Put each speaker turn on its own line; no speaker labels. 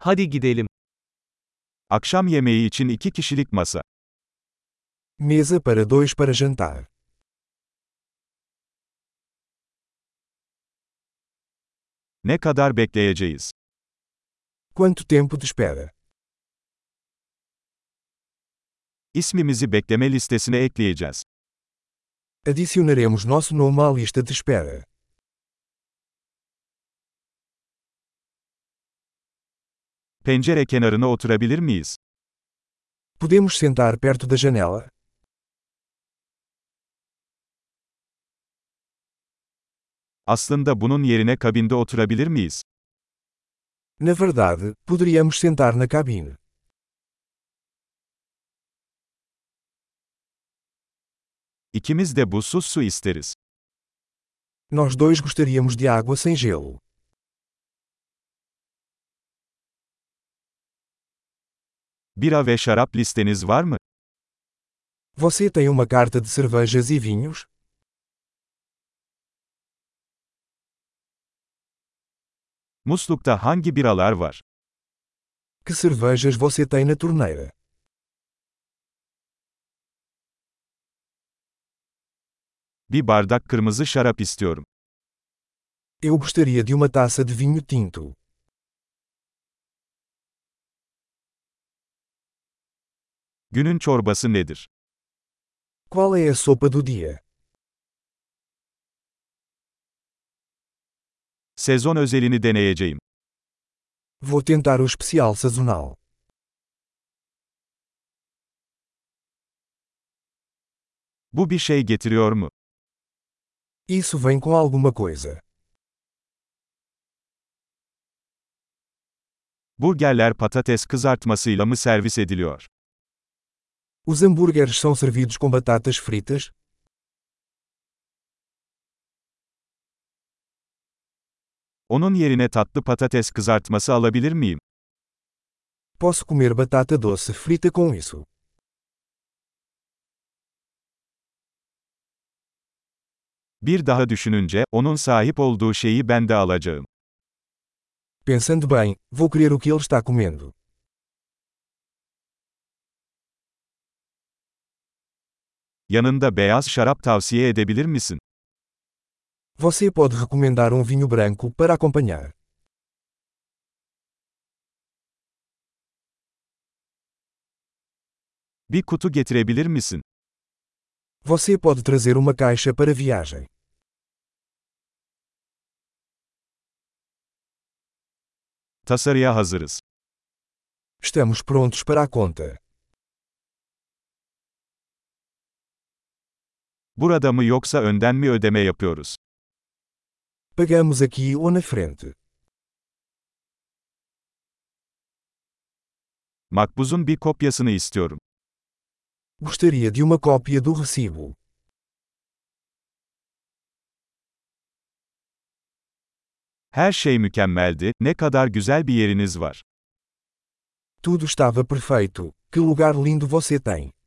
Hadi gidelim.
Akşam yemeği için iki kişilik masa.
Mesa para dois para jantar.
Ne kadar bekleyeceğiz?
Quanto tempo de espera?
İsmimizi bekleme listesine ekleyeceğiz.
Adicionaremos nosso nome à lista de espera.
Pencere kenarına oturabilir miyiz?
Podemos sentar perto da janela?
Aslında bunun yerine kabinde oturabilir miyiz?
Na verdade, poderíamos sentar na cabine.
İkimiz de buzsuz su isteriz.
Nós dois gostaríamos de água sem gelo.
Bira ve şarap listeniz var mı?
Você tem uma carta de cervejas e vinhos?
Muslukta hangi biralar var?
Que cervejas você tem na torneira?
Bir bardak kırmızı şarap istiyorum.
Eu gostaria de uma taça de vinho tinto.
Günün çorbası nedir?
Qual é a sopa do dia?
Sezon özelini deneyeceğim.
Vou tentar o especial sazonal.
Bu bir şey getiriyor mu?
Isso vem com alguma coisa.
Burgerler patates kızartmasıyla mı servis ediliyor?
Os hambúrgueres são servidos com batatas fritas?
Onun yerine tatlı patates kızartması alabilir miyim?
Posso comer batata doce frita com isso.
Bir daha düşününce, onun sahip olduğu şeyi ben de alacağım.
Pensando bem, vou querer o que ele está comendo.
Yanında beyaz şarap tavsiye edebilir misin?
Você pode recomendar um vinho branco para acompanhar.
Bir kutu getirebilir misin?
Você pode trazer uma caixa para viagem.
Tasarıya hazırız.
Estamos prontos para a conta.
Burada mı yoksa önden mi ödeme yapıyoruz?
Pagamos aqui ou na frente.
Makbuzun bir kopyasını istiyorum.
Gostaria de uma cópia do recibo.
Her şey mükemmeldi, ne kadar güzel bir yeriniz var.
Tudo estava perfeito. Que lugar lindo você tem!